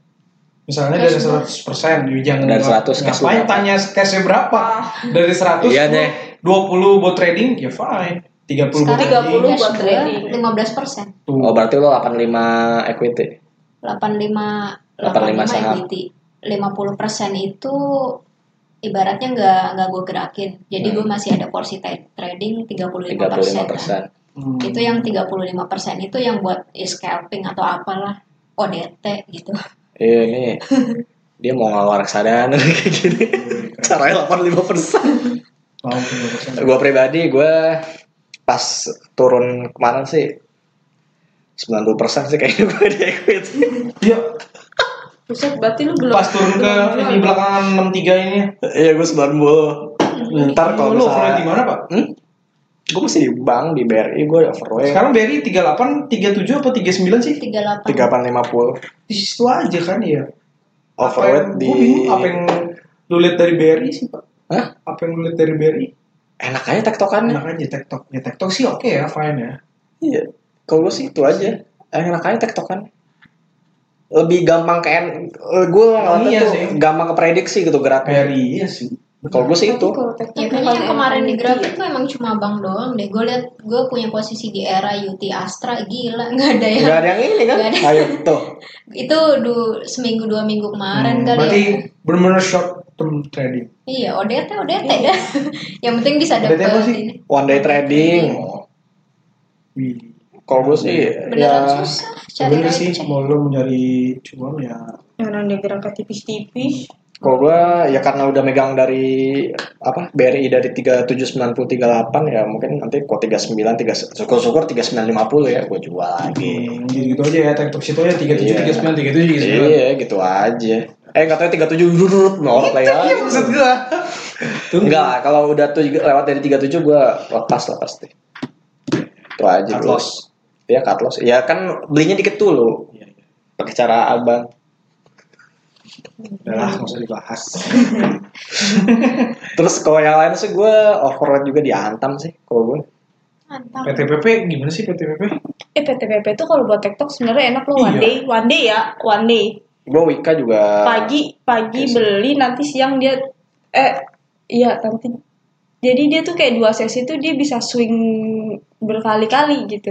Misalnya dari 100 persen, iya, jangan
Dari
nggak-
100, cash lu
ngapain
berapa?
tanya cashnya berapa? Dari 100,
Iya,
lu
deh.
20 buat trading, ya fine. 30 buat
sekarang
30
trading.
cash
buat
gue
trading.
15 persen.
Tuh.
Oh berarti lu 85 equity.
85
85
85
saham.
equity. 50% itu ibaratnya nggak nggak gue gerakin. Jadi gue
Hmm.
masih ada porsi tra- trading 35%.
35
kan.
persen.
Hmm.
Itu yang 35% itu yang buat scalping atau apalah ODT gitu.
Iya ini dia mau ngawar reksadana kayak gini. Caranya 85 persen.
Hmm. Mau 30%.
Gue pribadi gue pas turun kemarin sih 90 persen sih kayaknya gue di equity.
Iya.
Buset, berarti lu belum
Pas turun ke
belum-
ini belakangan 63 ini.
Iya gue 90 Ntar kalau
Lu overweight di
misalnya
mana, Pak?
Gue masih di bank di BRI gue overweight
Sekarang BRI 38, 37 apa 39 sih?
38
3850
Di situ aja kan ya. Apa
Overweight
yang,
di
Gua bingung apa yang lu lihat dari BRI sih, Pak?
Hah?
Apa yang lu lihat dari BRI?
Enak aja tektokannya
Enak aja TikTok. Ya TikTok sih oke ya, fine ya.
Iya. Kalau gue sih itu aja. Enak aja tektokan. kan. Lebih gampang ke gue ngeliatnya
Iya
tuh
sih.
gampang ke prediksi gitu geraknya.
BRI iya sih.
Kalau gue sih itu.
Ya kayaknya yang kemarin di
ya.
grafik tuh emang cuma Bang doang deh. Gue liat gue punya posisi di era UT Astra gila nggak ada yang
Gak ada yang ini kan?
Iya. Nggak ada.
Ayo tuh.
itu du, seminggu dua minggu kemarin
Hmm,
kali
berarti
ya.
benar-benar short term trading.
Iya ODT ODT dah. yang penting bisa
ODT apa
dapet
sih?
ini.
One day trading.
Wih.
Kalau gue sih
Beneran
ya
susah cari
Bener sih,
receh.
mau lu mencari cuan ya
Orang dia geraknya tipis-tipis.
kalau gue ya karena udah megang dari apa BRI dari 3790 38 ya mungkin nanti kok 39 3 syukur-syukur 3950 ya gue jual lagi.
gitu, gitu aja ya TikTok situ aja tiga tujuh
Iya.
tiga sembilan tiga tujuh tiga sembilan
Iya gitu aja. Eh katanya 37 durut nolak lah ya.
Iya, maksud gua
Enggak lah, kalau udah tuh lewat dari 37 gue lepas lah pasti. Itu aja
Cut
dulu.
loss.
Iya cut loss. Ya kan belinya dikit dulu.
Iya,
Pakai cara abang.
udah lah nggak usah dibahas
Terus kalau yang lain sih gue overload juga diantam sih kalau gue.
Mantap.
PTPP gimana sih PTPP
Eh PTPP tuh kalau buat TikTok sebenarnya enak loh one
Iya.
day, one day ya, one day.
Gue Wika juga.
pagi pagi
Yes.
beli nanti siang dia eh iya nanti jadi dia tuh kayak dua sesi tuh dia bisa swing berkali-kali gitu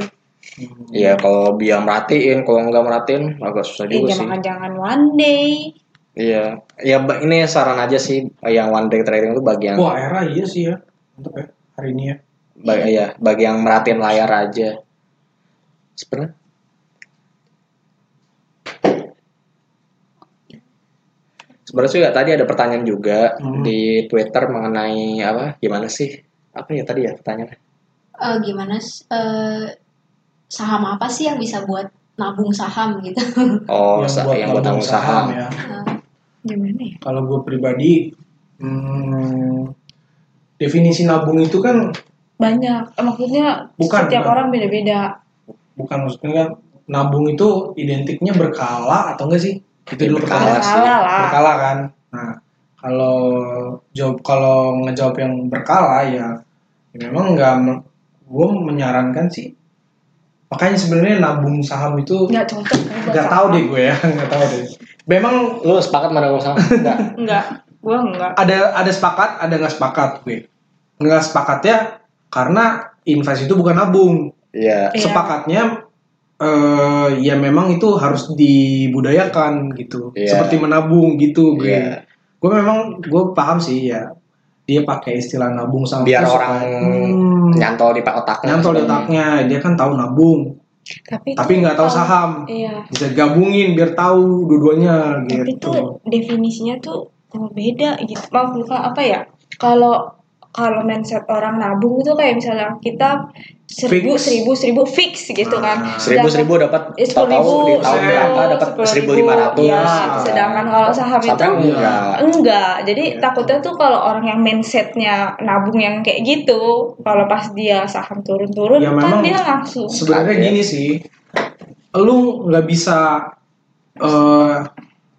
Iya kalau dia merhatiin, kalau nggak merhatiin agak susah
eh
juga sih.
jangan jangan one day
Iya. Ya ba- ini saran aja sih yang one day trading itu bagi yang
wah era iya sih ya mantep ya hari ini ya
bagi, ya, bagi yang merhatiin layar aja. Sebenarnya Sebenarnya juga tadi ada pertanyaan juga
Hmm.
di Twitter mengenai apa gimana sih apa ya tadi ya pertanyaan
Eh, gimana s- eh, saham apa sih yang bisa buat nabung saham gitu?
oh sa- yang buat tanggung saham
ya
gimana ya
kalau gue pribadi hmm, definisi nabung itu kan
banyak Eh, maksudnya
Bukan,
setiap
bukan.
orang beda-beda
bukan maksudnya kan nabung itu identiknya berkala atau enggak sih itu dulu
Berkala
pertanyaan.
sih.
salah lah
berkala kan nah kalau jawab kalau ngejawab yang berkala ya, ya memang nggak gue menyarankan sih makanya sebenarnya nabung saham itu
nggak cocok
nggak tahu deh gue ya nggak tahu deh memang
lu sepakat sama tanggung saham ya. enggak
nggak gua nggak
ada ada sepakat ada nggak sepakat gue nggak sepakatnya karena investasi itu bukan nabung
iya
Iya.
sepakatnya eh ya memang itu harus dibudayakan gitu
Iya.
seperti menabung gitu gue
Iya.
gue memang gue paham sih ya dia pakai istilah nabung sama
biar
supaya-
orang gitu.
Hmm,
nyantol di otaknya
nyantol di otaknya dia kan tahu nabung
tapi
tapi
tuh
nggak tahu
kalau-
saham
iya
bisa gabungin biar tahu dua-duanya gitu
tapi tuh definisinya tuh oh, beda gitu maaf lupa apa ya kalau kalau mindset orang nabung itu kayak misalnya kita seribu
Fix.
seribu seribu fix gitu
Ah.
kan
seribu seribu dapat
Eh,
tahu
ribu,
di
Iya,
tahun
sepuluh,
berapa dapat seribu lima ratus
ya, sedangkan kalau saham itu
enggak
enggak jadi
Iya.
takutnya tuh kalau orang yang mindsetnya nabung yang kayak gitu kalau pas dia saham turun-turun
Ya, memang
kan dia langsung
sebenarnya
Kaget.
gini sih lu nggak bisa eh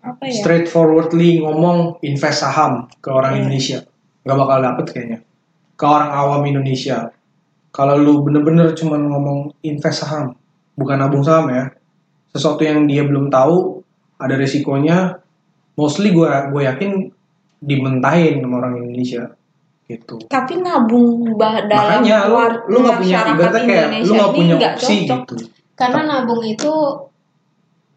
apa ya
straightforwardly ngomong invest saham ke orang
Iya.
Indonesia nggak bakal dapet kayaknya ke orang awam Indonesia kalau lu bener-bener cuman ngomong invest saham bukan nabung saham ya sesuatu yang dia belum tahu ada resikonya mostly gue gue yakin dimentahin sama orang Indonesia gitu
tapi nabung bah- dalam
makanya lu
war-
lu nggak punya
masyarakat
ibaratnya kayak lu
Indonesia
nggak
ini
punya
nggak
opsi
cocok.
gitu
Karena nabung itu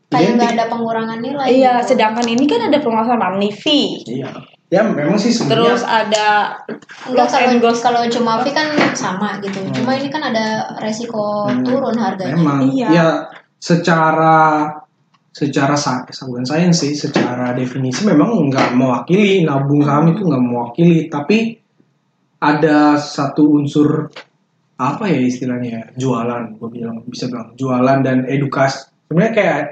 kayak
Identik.
nggak ada pengurangan nilai.
Iya,
gitu.
sedangkan ini kan ada permasalahan amnifi.
iya ya memang sih sebenarnya
Terus ada
Enggak
loss and
kalau
goes.
kalau cuma fee kan sama gitu. Cuma ini kan ada resiko
Hmm.
turun harganya.
Memang
Iya.
ya secara secara sa- bukan sains sih, secara definisi memang nggak mewakili nabung
Hmm.
saham itu nggak mewakili, tapi ada satu unsur apa ya istilahnya ya, jualan, gue bilang bisa bilang jualan dan edukasi. Sebenarnya kayak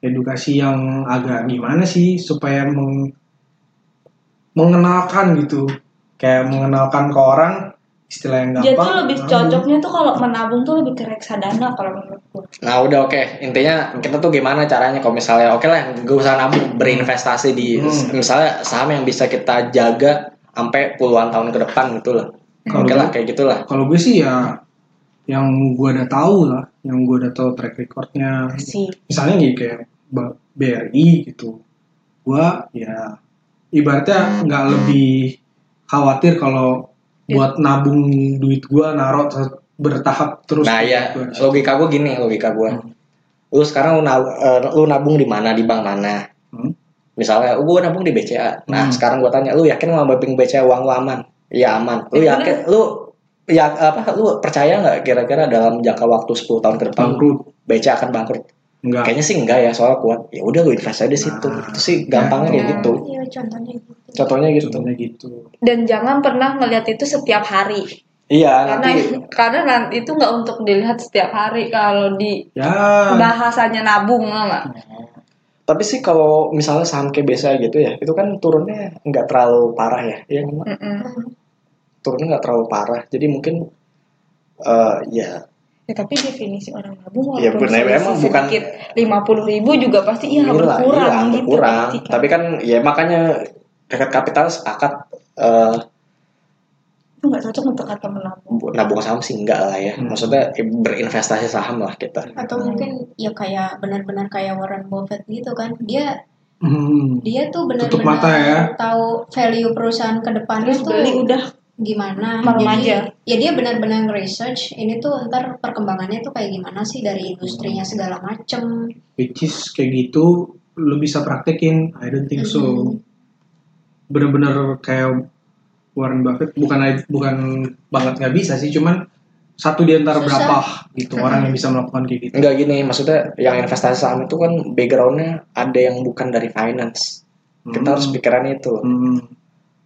edukasi yang agak gimana sih supaya meng- mengenalkan gitu kayak mengenalkan ke orang istilah yang
Jadi
gampang
tuh lebih
nabung.
cocoknya tuh kalau menabung tuh lebih ke reksadana kalau menurut gue.
Nah udah oke intinya kita tuh gimana caranya kalau misalnya oke lah gak usah nabung berinvestasi di
Hmm.
misalnya saham yang bisa kita jaga sampai puluhan tahun ke depan gitu lah.
Kalau
Oke
gue-
lah kayak gitulah.
kalau gue sih ya yang gue udah tahu lah yang gue udah tahu track recordnya
Sih.
misalnya gitu kayak B- BRI gitu gue ya ibaratnya nggak lebih khawatir kalau buat nabung duit gue naruh ter- bertahap terus gitu.
Nah
duit
ya
gua di situ.
logika gue gini logika gue.
Hmm.
Lu sekarang lu, na- eh, lu nabung di mana di bank mana?
Hmm.
Misalnya gue nabung di BCA. Nah
Hmm.
sekarang gue tanya lu yakin mau bank BCA uang lu aman? Iya aman. Lu
Ya,
yakin lu ya apa lu percaya nggak kira-kira dalam jangka waktu 10 tahun ke depan
bangkrut
BCA akan bangkrut?
enggak
Kayaknya sih enggak ya soal kuat. Ya udah lu invest aja di situ.
Nah,
itu sih gampangnya kayak
Ya,
gitu.
Iya, contohnya gitu.
Contohnya gitu.
contohnya gitu
Dan jangan pernah ngelihat itu setiap hari.
Iya,
Karena
nanti
karena nanti itu nggak untuk dilihat setiap hari kalau di
ya
Hmm.
bahasanya nabung nggak nggak?
tapi sih kalau misalnya saham kayak biasa gitu ya, itu kan turunnya nggak terlalu parah ya. Iya,
Hmm.
nggak, Mak?
Mm-mm.
turunnya nggak terlalu parah. Jadi mungkin eh ya
Ya tapi definisi orang nabung
Ya,
walaupun
bener, emang bukan-
sedikit lima puluh ribu juga pasti ya
inilah,
berkurang
iya,
gitu.
berkurang.
pasti kan.
Tapi kan ya makanya dekat kapital sepakat eh
itu nggak cocok untuk kata menabung.
nabung saham sih enggak lah ya.
Hmm.
Maksudnya eh, berinvestasi saham lah kita.
atau mungkin ya kayak benar-benar kayak Warren Buffett gitu kan dia
Hmm.
dia tuh
Tutup mata
benar-benar
ya.
tahu value perusahaan ke depannya
Terus
tuh
beli udah
gimana
Merem
jadi
aja.
ya dia benar-benar research ini tuh ntar perkembangannya tuh kayak gimana sih dari industrinya segala macem
which is kayak gitu lu bisa praktekin I don't think so
Mhm.
bener-bener kayak Warren Buffett bukan bukan banget nggak bisa sih cuman satu di antara
Susah. Mm-hmm.
berapa gitu orang yang bisa melakukan kayak gitu
Enggak gini, maksudnya yang investasi saham itu kan backgroundnya ada yang bukan dari finance. Kita
Hmm.
harus pikiran itu loh.
Hmm,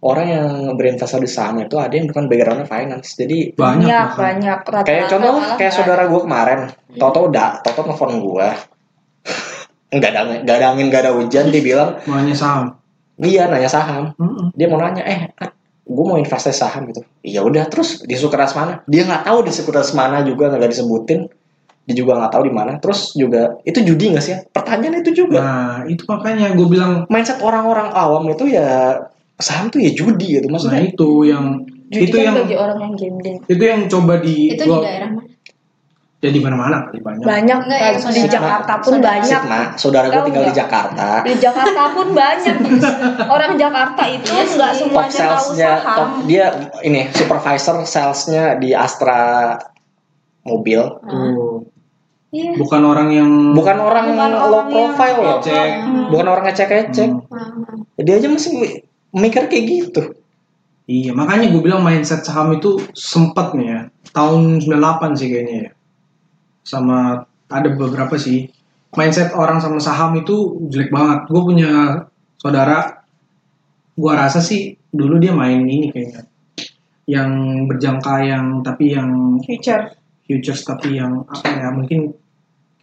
Orang yang berinvestasi di saham itu ada yang bukan backgroundnya finance.
Iya,
Jadi
banyak
kan.
banyak
bahkan.
banyak rata-rata kan.
kayak contoh
malah
kayak
nggak
saudara gue kemarin, Toto udah Toto nelfon gue. Enggak ada nggak ada angin, enggak ada hujan dia bilang,
maunya saham
"Iya, nanya saham."
Mm-hmm.
Mm-mm.
Dia mau nanya, "Eh, gue mau investasi saham gitu." Iya udah, terus di Sukeras mana? Dia nggak tahu di Sukeras mana juga nggak disebutin. Dia juga nggak tahu di mana. Terus juga itu judi nggak sih? ya? Pertanyaan itu juga.
nah itu makanya gue bilang
mindset orang-orang awam itu ya saham tuh ya judi gitu
nah
maksudnya
itu yang
Judi
itu
kan
yang
bagi orang yang gambling.
itu yang coba di
itu di
gua-
daerah mana
ya di mana-mana kali banyak
Banyak
Enggak,
kan
yang
di
saudara-
Jakarta pun
saudara-
banyak.
Sip, Mak. Nah, saudara gue
Nah, iya. Tahu
tinggal di
nggak? Iya,
Jakarta
Di Jakarta pun banyak. Orang Jakarta itu
Iya sih.
nggak
top
semuanya tahu
salesnya
saham.
top dia ini supervisor salesnya di Astra mobil
Tuh.
iya
bukan orang yang
bukan orang
Bukan
low
orang yang
profile loh
cek
Hmm.
bukan orang ngecek-ngecek
Hmm.
Ah,
dia aja masih mi- mikir kayak gitu
iya makanya gue bilang mindset saham itu sempat nih ya tahun 98 sih kayaknya ya sama ada beberapa sih mindset orang sama saham itu jelek banget gue punya saudara gue rasa sih dulu dia main ini kayaknya yang berjangka yang tapi yang
Future.
futures tapi yang apa ya mungkin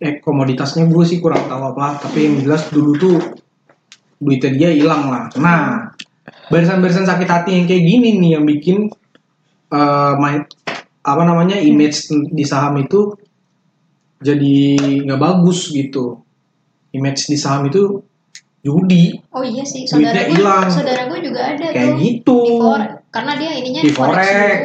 eh, komoditasnya gue sih kurang tahu apa tapi yang jelas dulu tuh duitnya dia hilang lah nah barisan-barisan sakit hati yang kayak gini nih yang bikin eh, main apa namanya image di saham itu jadi nggak bagus gitu image di saham itu judi
oh iya sih
Duitnya
saudara
hilang.
gue saudara gue juga ada
kayak
tuh
gitu
di forex karena dia ininya kan.
Di forex.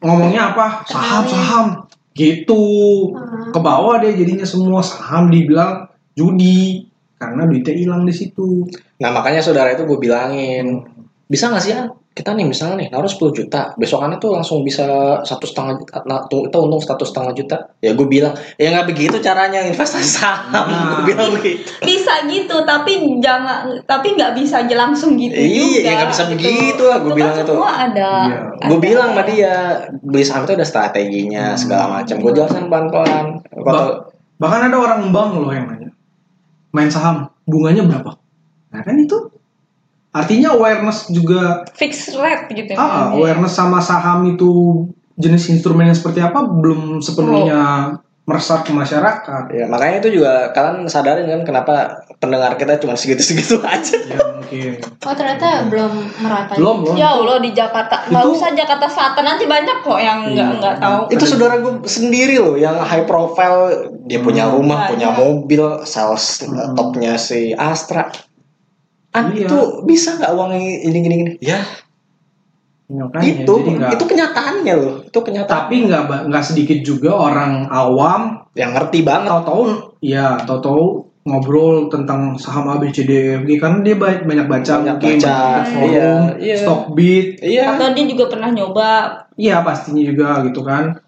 ngomongnya apa saham
Kenalin.
saham gitu
Hmm.
ke bawah deh jadinya semua saham dibilang judi karena duitnya hilang di situ
nah makanya saudara itu gue bilangin bisa nggak sih An? kita nih misalnya nih naruh 10 juta besokannya tuh langsung bisa satu setengah nah, tuh, kita untung satu setengah juta ya gue bilang ya nggak begitu caranya investasi saham
Nah.
gue bilang gitu
Bisa gitu, tapi jangan tapi nggak bisa langsung gitu
Iya,
juga.
ya nggak bisa begitu lah, gua
Itu kan
bilang itu.
semua ada.
Iya.
gue
ada-
bilang sama dia beli saham itu ada strateginya segala macam gue jelasin pelan pelan
Bah- bahkan ada orang bank loh yang nanya main saham bunganya berapa nah kan itu artinya awareness juga
fixed rate gitu.
ah,
namanya.
awareness sama saham itu jenis instrumen yang seperti apa belum sepenuhnya meresap ke masyarakat
Ya, makanya itu juga kalian sadarin kan kenapa pendengar kita cuma segitu-segitu aja.
ya mungkin
Oh ternyata belum merata.
belum belum
Ya Allah di Jakarta, nggak
Itu-
usah Jakarta Selatan nanti banyak kok yang nggak nggak tahu.
Itu saudara gue sendiri loh yang high profile, dia punya
Hmm.
rumah,
Banyak.
punya mobil, sales uh, topnya si Astra. Ah,
Iya.
itu bisa nggak uangnya ini gini gini? Ya,
Ya, kan, ya,
itu
jadi nggak-
itu kenyataannya loh. Itu kenyataan
tapi nggak ba- nggak sedikit juga orang awam
yang ngerti banget.
tahu-tahu ya tahu-tahu ngobrol tentang saham ABCDFG E karena dia banyak banyak baca
Banyak
mungkin
baca,
banyak
iya,
forum
iya.
Stockbit
Iya.
Atau dia juga pernah nyoba.
Iya pastinya juga gitu kan.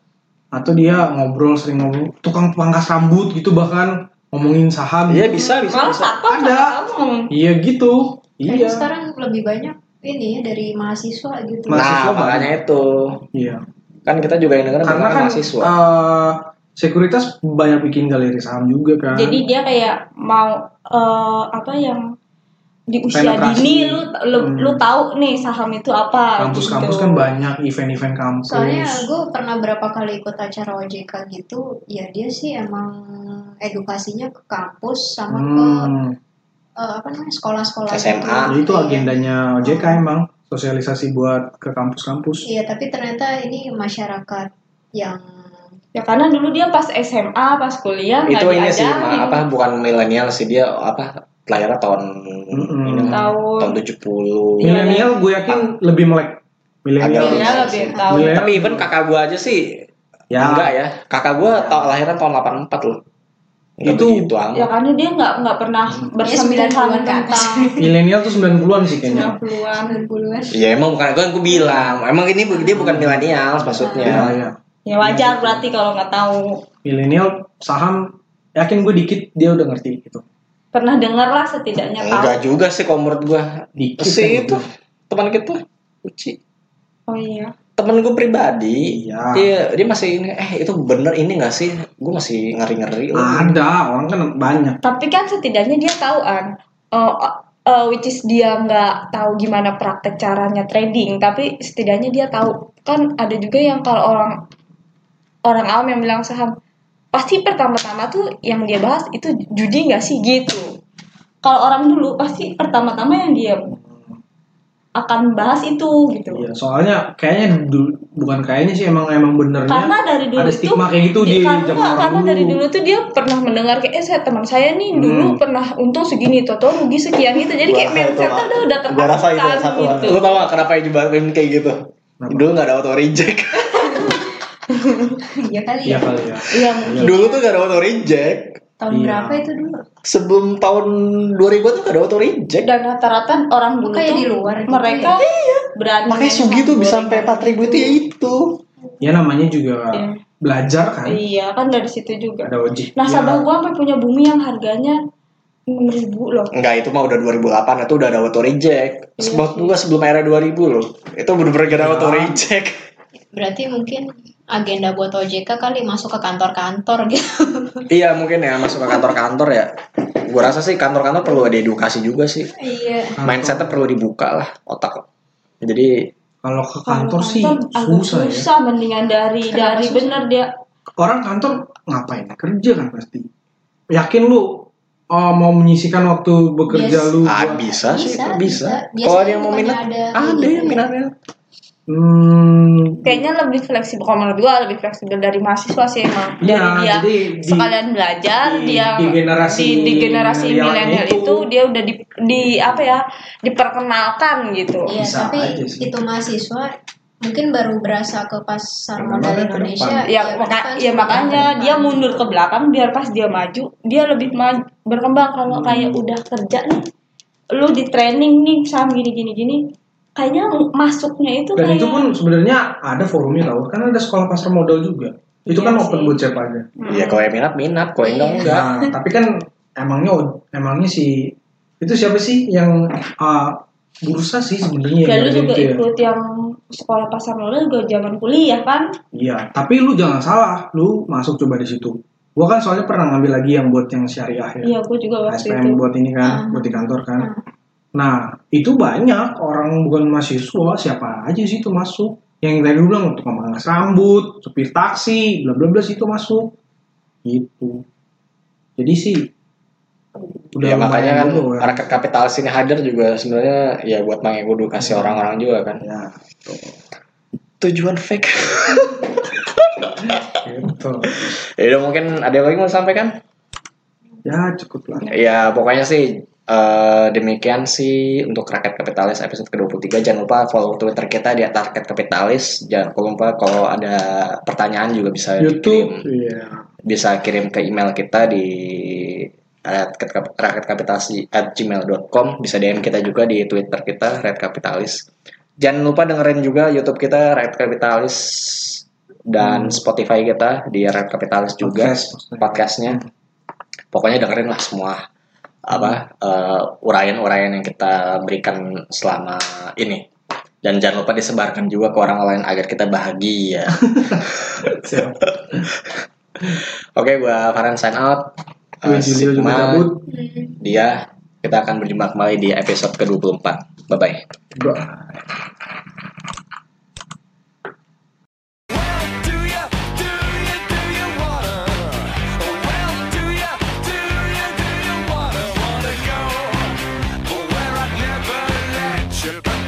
Atau dia ngobrol sering ngomong tukang pangkas rambut gitu bahkan ngomongin saham.
Iya bisa bisa.
Malah
bisa.
satpam
Ada.
sama kamu.
Iya gitu.
Kayaknya
Iya.
sekarang lebih banyak ini ya dari mahasiswa gitu.
Ma- mahasiswa
Nah, makanya itu.
Iya.
Kan kita juga yang dengar
Karena kan
mahasiswa.
eh, sekuritas banyak bikin galeri saham juga kan.
Jadi dia kayak mau eh, apa yang di usia
Penetrasi.
dini lu lu,
Hmm.
lu tahu nih saham itu apa.
kampus-kampus
gitu.
kan banyak event-event kampus.
Soalnya gue pernah berapa kali ikut acara OJK gitu, ya dia sih emang edukasinya ke kampus sama ke
Hmm.
eh, apa namanya sekolah-sekolah
SMA.
Ah,
gitu.
Jadi itu
Iya.
agendanya OJK emang sosialisasi buat ke kampus-kampus.
Iya, tapi ternyata ini masyarakat yang
Ya karena dulu dia pas SMA, pas kuliah nggak
itu ini sih Ma,
diajarin.
apa bukan milenial sih dia apa lahirnya tahun
Mm-mm.
ini lah,
Tahun.
tahun 70
Iya.
Milenial gue yakin lebih melek. Milenial.
Dia lebih tahu.
Milenial.
tapi even kakak gua aja sih
Iya. Ya.
enggak ya kakak gua ta- lahirnya tahun 84 loh Enggak
Itu-
begitu amat.
Ya karena dia nggak nggak pernah
Iya,
bersentuhan
90-an ke atas.
tentang
Milenial tuh 90-an sih
Iya.
kayaknya.
90-an.
90-an.
ya emang bukan itu yang gua bilang emang ini bu- dia
Hmm.
bukan milenial
Iya,
maksudnya
iya.
Ya wajar berarti kalau nggak tahu.
Milenial saham yakin gue dikit dia udah ngerti gitu.
Pernah dengar lah setidaknya Ya, tahu.
enggak juga sih kalau menurut gua
Dikit
si
kan
itu
gitu.
teman kita Uci
Oh iya.
temen gue pribadi
Iya.
dia dia masih ini eh itu bener ini gak sih gue masih ngeri ngeri
Ada orang kan banyak.
Tapi kan setidaknya dia tahu an. Eh, eh, which is dia nggak tahu gimana praktek caranya trading, tapi setidaknya dia tahu. Kan ada juga yang kalau orang orang awam yang bilang saham, pasti pertama-tama tuh yang dia bahas itu judi nggak sih gitu. Kalau orang dulu pasti pertama-tama yang dia akan bahas itu gitu.
Iya, soalnya kayaknya dulu- bukan kayaknya sih emang emang benernya.
karena dari dulu
ada stigma
itu,
kayak gitu di
karena,
zaman orang
karena
dulu.
dari dulu tuh dia pernah mendengar kayak eh saya teman saya nih dulu pernah untung segini toto rugi sekian gitu jadi kayak mindsetnya udah udah
gue rasa itu
terpasang
satu
gitu
lu kan tau gak kenapa dibantuin kayak gitu
Kenapa?
dulu gak ada auto reject
Iya kali
Iya
ya.
kali ya.
iya mungkin
dulu tuh gak ada auto reject
Tahun
Iya.
berapa itu dulu?
sebelum tahun 2000 tuh gak ada auto reject
dan rata-rata orang dulu
Kayak
tuh
di luar gitu
mereka berani
makanya Sugi tuh bisa sampai 4000 itu ya itu
Ya namanya juga
gitu. Iya.
belajar kan.
iya kan dari situ juga
Ada ojek.
nasabah gua sampai punya bumi yang harganya enam ribu loh
enggak itu mah udah 2008 itu udah ada auto reject sebelum gua sebelum era 2000 loh itu bener-bener gak ada auto reject
Berarti mungkin agenda buat OJK kali masuk ke kantor-kantor gitu.
iya mungkin ya masuk ke kantor-kantor ya gue rasa sih kantor-kantor perlu ada edukasi juga sih
Iya.
mindsetnya perlu dibuka lah otak jadi
Kalau ke
Kalau
kantor sih
agak
susah ya.
susah mendingan dari
Kenapa
dari
susah?
bener dia
orang kantor ngapain kerja kan pasti yakin lu oh, mau menyisikan waktu bekerja
Yes.
lu buat-
ah, bisa sih
Bisa, bisa.
bisa,
Biasanya
kalau ada yang mau
bukannya
minat
ada
ada,
kayak gitu
yang
ya.
minatnya
hmm,
kayaknya lebih fleksibel kalau menurut gua lebih fleksibel dari mahasiswa sih emang
Iya,
dari dia
jadi di-
sekalian belajar
di-
dia
di generasi
di, di generasi
milenialnya
milenial
itu.
itu. dia udah di, di apa ya diperkenalkan gitu
Iya,
Bisa
tapi
aja sih.
itu mahasiswa mungkin baru berasa ke pasar modal
Karena kan ke
Indonesia.
ya, maka,
kan
ya makanya dia mundur ke belakang biar pas dia maju dia lebih ma- berkembang kalau
Hmm.
kayak udah kerja nih lu di training nih saham gini gini gini kayaknya masuknya itu
dan
kayak
itu pun sebenarnya ada forumnya tau kan ada sekolah pasar modal juga itu kan
Iya
open
sih.
buat siapa aja
Hmm.
Iya kalau yang minat minat, kalau yang enggak
Iya.
enggak.
nah tapi kan emangnya emangnya si itu siapa sih yang ah, bursa sih sebenarnya
dan
yang
lu
ngadain
juga
itu ya.
ikut yang sekolah pasar modal juga zaman kuliah kan
Iya, tapi lu jangan salah, lu masuk coba di situ. Gua kan soalnya pernah ngambil lagi yang buat yang syariah ya.
Iya, gue juga
SPM
waktu itu. Ah.
buat ini kan, buat di kantor kan. Nah, itu banyak orang bukan mahasiswa, siapa aja sih itu masuk. Yang tadi lu bilang tukang pangkas rambut, supir taksi, bla bla bla situ masuk. gitu jadi sih
ya makanya kan
lumayan dulu, ya.
market kapitalis ini hadir juga sebenarnya ya buat mengedukasi orang-orang juga kan
ya
tujuan fake
gitu
ya udah mungkin ada yang lagi mau sampaikan
ya cukup lah
ya pokoknya sih eh, demikian sih untuk rakyat kapitalis episode ke-23 jangan lupa follow twitter kita di target kapitalis jangan lupa kalau ada pertanyaan juga bisa
YouTube
kirim-
iya
bisa kirim ke email kita di rakyatkapitalisi at gmail.com bisa DM kita juga di Twitter kita Red Kapitalis jangan lupa dengerin juga YouTube kita Red Kapitalis dan Spotify kita di Red Kapitalis juga
Hmm. Podcast, maksudnya.
podcastnya pokoknya dengerin lah semua
Hmm.
apa eh, uraian-uraian yang kita berikan selama ini dan jangan lupa disebarkan juga ke orang lain agar kita bahagia
Siap.
Oke, gua Farhan sign out. Uh,
Gue Julio juga
Sigma,
cabut.
dia kita akan berjumpa kembali di episode ke-24. Bye bye.
Bye.
Do ya, do ya, do you wanna? Well, do ya, do ya, do you wanna, wanna go? Where I'd never let you, but